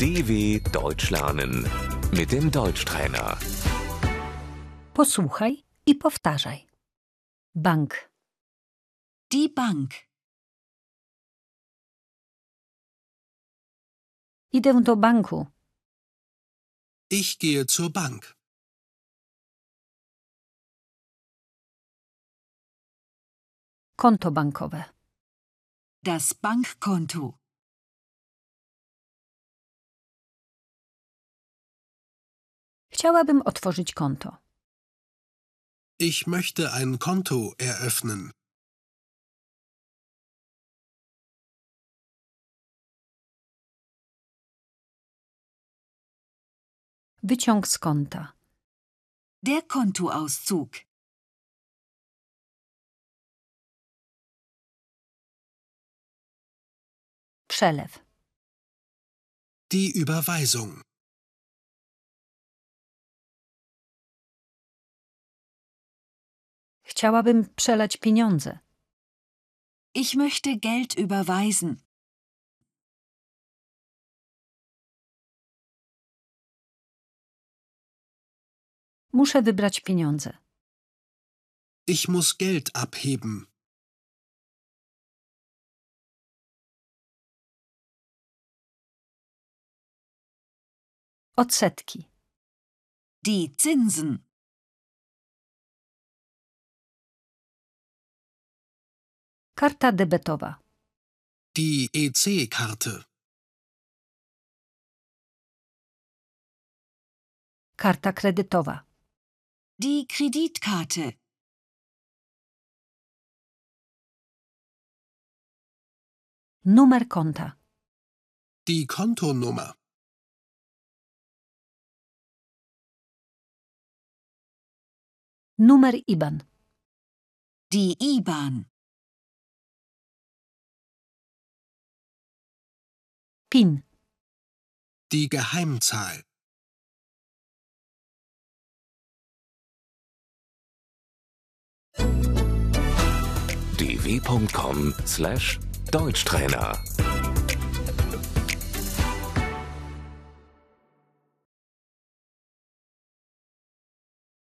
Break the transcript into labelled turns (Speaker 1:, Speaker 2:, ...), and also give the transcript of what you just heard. Speaker 1: DW Deutsch lernen mit dem Deutschtrainer.
Speaker 2: Posłuchaj i powtarzaj. Bank,
Speaker 3: Die Bank.
Speaker 2: idę do banku,
Speaker 4: Ich gehe zur Bank.
Speaker 2: konto bankowe,
Speaker 3: Das Bankkonto.
Speaker 2: chciałabym otworzyć konto,
Speaker 4: Ich möchte ein Konto eröffnen.
Speaker 2: wyciąg z konta,
Speaker 3: Der Kontoauszug.
Speaker 2: przelew,
Speaker 4: Die Überweisung.
Speaker 2: chciałabym przelać pieniądze,
Speaker 3: Ich möchte Geld überweisen.
Speaker 2: muszę wybrać pieniądze,
Speaker 4: Ich muss Geld abheben.
Speaker 2: odsetki,
Speaker 3: Die Zinsen.
Speaker 2: karta debetowa,
Speaker 4: Die E EC-Karte.
Speaker 2: karta kredytowa,
Speaker 3: Die Kreditkarte.
Speaker 2: numer konta,
Speaker 4: Die Kontonummer.
Speaker 2: numer IBAN,
Speaker 3: Die IBAN.
Speaker 2: PIN,
Speaker 4: Die Geheimzahl.
Speaker 1: dw.com/deutschtrainer